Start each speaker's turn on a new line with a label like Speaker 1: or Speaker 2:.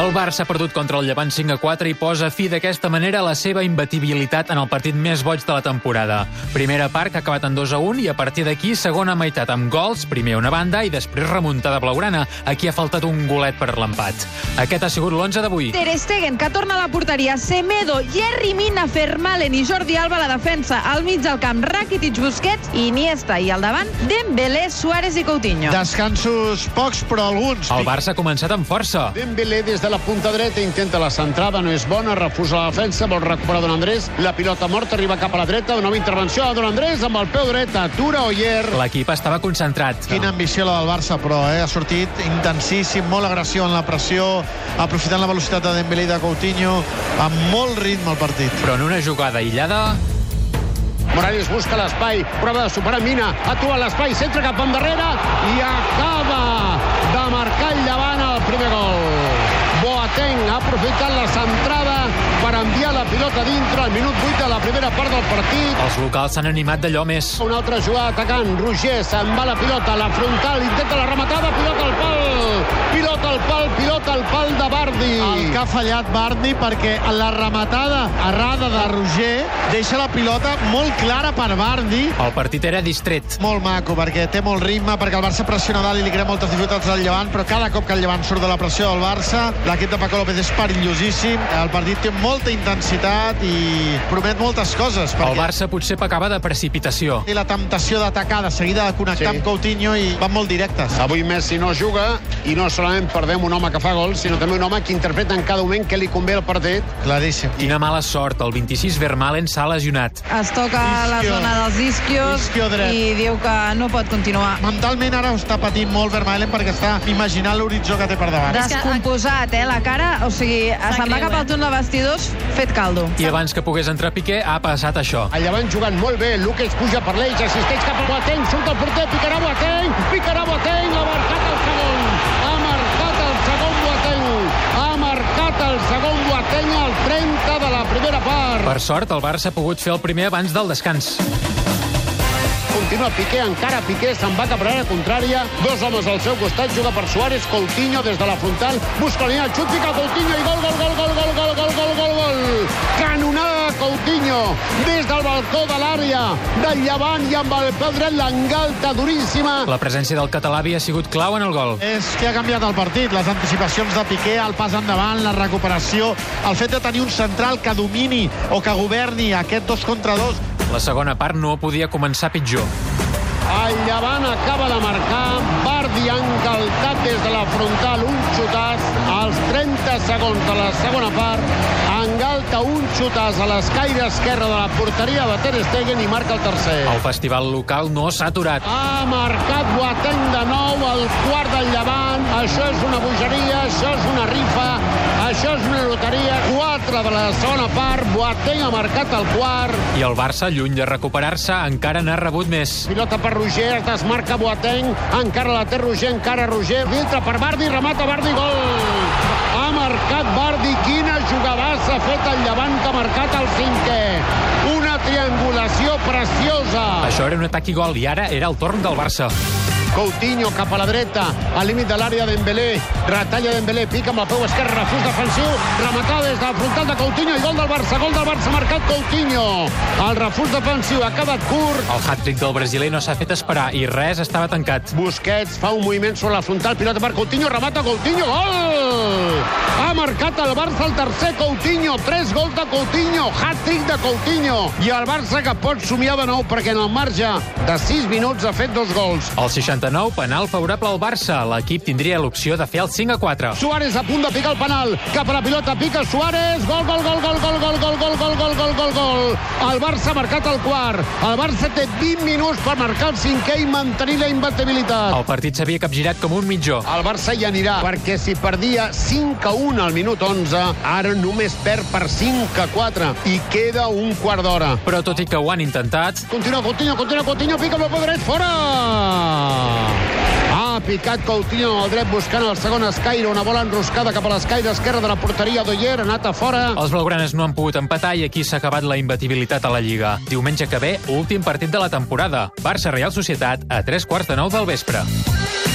Speaker 1: El Barça ha perdut contra el Llevant 5 a 4 i posa fi d'aquesta manera a la seva imbatibilitat en el partit més boig de la temporada. Primera part que ha acabat en 2 a 1 i a partir d'aquí segona meitat amb gols, primer una banda i després remuntada blaugrana. Aquí ha faltat un golet per l'empat. Aquest ha sigut l'11 d'avui.
Speaker 2: Ter Stegen, que torna a la porteria, Semedo, Jerry Mina, Fermalen i Jordi Alba a la defensa, al mig del camp Rakitic, Busquets, Iniesta i al davant Dembélé, Suárez i Coutinho.
Speaker 3: Descansos pocs, però alguns.
Speaker 1: El Barça ha començat amb força.
Speaker 3: Dembélé des de la punta dreta intenta la centrada, no és bona, refusa la defensa, vol recuperar Don Andrés, la pilota morta arriba cap a la dreta, una nova intervenció de Don Andrés amb el peu dret, atura Oyer.
Speaker 1: L'equip estava concentrat.
Speaker 4: Quina ambició la del Barça, però, eh? Ha sortit intensíssim, molt agressió en la pressió, aprofitant la velocitat de Dembélé i de Coutinho, amb molt ritme al partit.
Speaker 1: Però en una jugada aïllada,
Speaker 3: Morales busca l'espai, prova de superar Mina, atua l'espai, centre cap endarrere i acaba de marcar el llevant el primer gol. Boateng ha aprofitat la centrada per enviar la pilota dintre al minut 8 de la primera part del partit.
Speaker 1: els locals s'han animat d'allò més.
Speaker 3: Una altra jugada atacant, Roger se'n va la pilota, la frontal, intenta la rematada, pilota al pal, pilota al pal, pilota al pal de Bardi.
Speaker 4: El que ha fallat Bardi perquè la rematada errada de Roger deixa la pilota molt clara per Bardi,
Speaker 1: El partit era distret.
Speaker 4: molt maco, perquè té molt ritme, perquè el Barça pressiona dalt i li crea moltes dificultats al Llevant, però cada cop que el Llevant surt de la pressió del Barça, l'equip de Paco López és perillosíssim, el partit té molta intensitat i promet moltes coses.
Speaker 1: El
Speaker 4: perquè-
Speaker 1: Barça potser pecava de precipitació.
Speaker 4: i la temptació d'atacar de seguida de connectar
Speaker 3: Sí.
Speaker 4: sí. amb Coutinho i van molt directes.
Speaker 3: Avui Messi no juga i no solament perdem un home que fa gol, sinó també un home que interpreta en cada moment que li convé el partit
Speaker 4: Claríssim.
Speaker 1: Quina mala sort, el 26 Vermalen s'ha lesionat.
Speaker 2: Es toca a la
Speaker 4: Isquio.
Speaker 2: zona dels isquios
Speaker 4: Isquio dret.
Speaker 2: i diu que no pot continuar.
Speaker 4: Mentalment ara ho està patint molt Vermaelen perquè està imaginant l'horitzó que té per davant.
Speaker 2: Descomposat, eh, la cara. O sigui, se'n va cap al túnel de vestidors fet caldo.
Speaker 1: I abans que pogués entrar Piqué ha passat això.
Speaker 3: El llevant jugant molt bé, Luqueix puja per l'eix, assisteix cap a Boateng, surt el porter, picarà Boateng, picarà Boateng, ha marcat el segon, ha marcat el segon Boateng, ha marcat el segon Boateng al 30 de la primera part.
Speaker 1: Per sort, el Barça ha pogut fer el primer abans del descans.
Speaker 3: Continua Piqué, encara Piqué, se'n va cap a l'àrea contrària, dos homes al seu costat, juga per Suárez, Coutinho des de la frontal, busca la línia, el xut, fica Coutinho i gol, gol, gol, gol, gol, gol, gol, gol, gol, gol. Canonada de Coutinho des del balcó de l'àrea, del llevant i amb el peu dret l'engalta duríssima.
Speaker 1: La presència del català havia sigut clau en el gol.
Speaker 4: És que ha canviat el partit, les anticipacions de Piqué, el pas endavant, la recuperació, el fet de tenir un central que domini o que governi aquest dos contra dos.
Speaker 1: La segona part no podia començar pitjor.
Speaker 3: El llevant acaba de marcar. Bardi ha encalcat des de la frontal un xutàs als 30 segons de la segona part. Engalta un xutàs a l'escaire esquerra de la porteria de Ter Stegen i marca el tercer.
Speaker 1: El festival local no s'ha aturat.
Speaker 3: Ha marcat Boateng de nou el quart del llevant. Això és una bogeria, això és una rifa, això és una loteria. 4 de la segona part, Boateng ha marcat el quart.
Speaker 1: I el Barça, lluny de recuperar-se, encara n'ha rebut més.
Speaker 3: Pilota per Roger, es desmarca Boateng, encara la té Roger, encara Roger, dintre per Bardi, remata Bardi, gol! Ha marcat Bardi, quina jugadassa ha fet el llevant que ha marcat el cinquè. Una triangulació preciosa.
Speaker 1: Això era un atac i gol, i ara era el torn del Barça.
Speaker 3: Coutinho cap a la dreta, al límit de l'àrea d'Embelé, retalla d'Embelé, pica amb el peu esquerre, refús defensiu, rematada des del frontal de Coutinho i gol del Barça, gol del Barça marcat Coutinho. El refús defensiu ha quedat curt,
Speaker 1: El hat-trick del brasiler no s'ha fet esperar i res estava tancat.
Speaker 3: Busquets fa un moviment sobre la frontal, pilota per Coutinho, remata Coutinho, gol! Ha marcat el Barça el tercer Coutinho, tres gols de Coutinho, hat-trick de Coutinho. I el Barça que pot somiar de nou perquè en el marge de sis minuts ha fet dos gols.
Speaker 1: Al 60 89, penal favorable al Barça. L'equip tindria l'opció de fer el 5 a 4.
Speaker 3: Suárez a punt de picar el penal. Cap a la pilota, pica Suárez. Gol, gol, gol, gol, gol, gol, gol, gol, gol, gol, gol, gol, gol. El Barça ha marcat el quart. El Barça té 20 minuts per marcar el cinquè i mantenir la imbatibilitat.
Speaker 1: El partit s'havia capgirat com un mitjó.
Speaker 3: El Barça hi anirà, perquè si perdia 5 a 1 al minut 11, ara només perd per 5 a 4 i queda un quart d'hora.
Speaker 1: Però tot i que ho han intentat,
Speaker 3: Continua, continua, continua, continua, pica amb el peu dret, fora! Ha picat Coutinho amb el dret buscant el segon escaire, una bola enroscada cap a l'escaire esquerra de la porteria d'Oyer, ha anat a fora.
Speaker 1: els blaugranes no han pogut empatar i aquí s'ha acabat la imbatibilitat a la Lliga. Diumenge que ve, últim partit de la temporada. Barça-Real Societat a 3 quarts de 9 del vespre.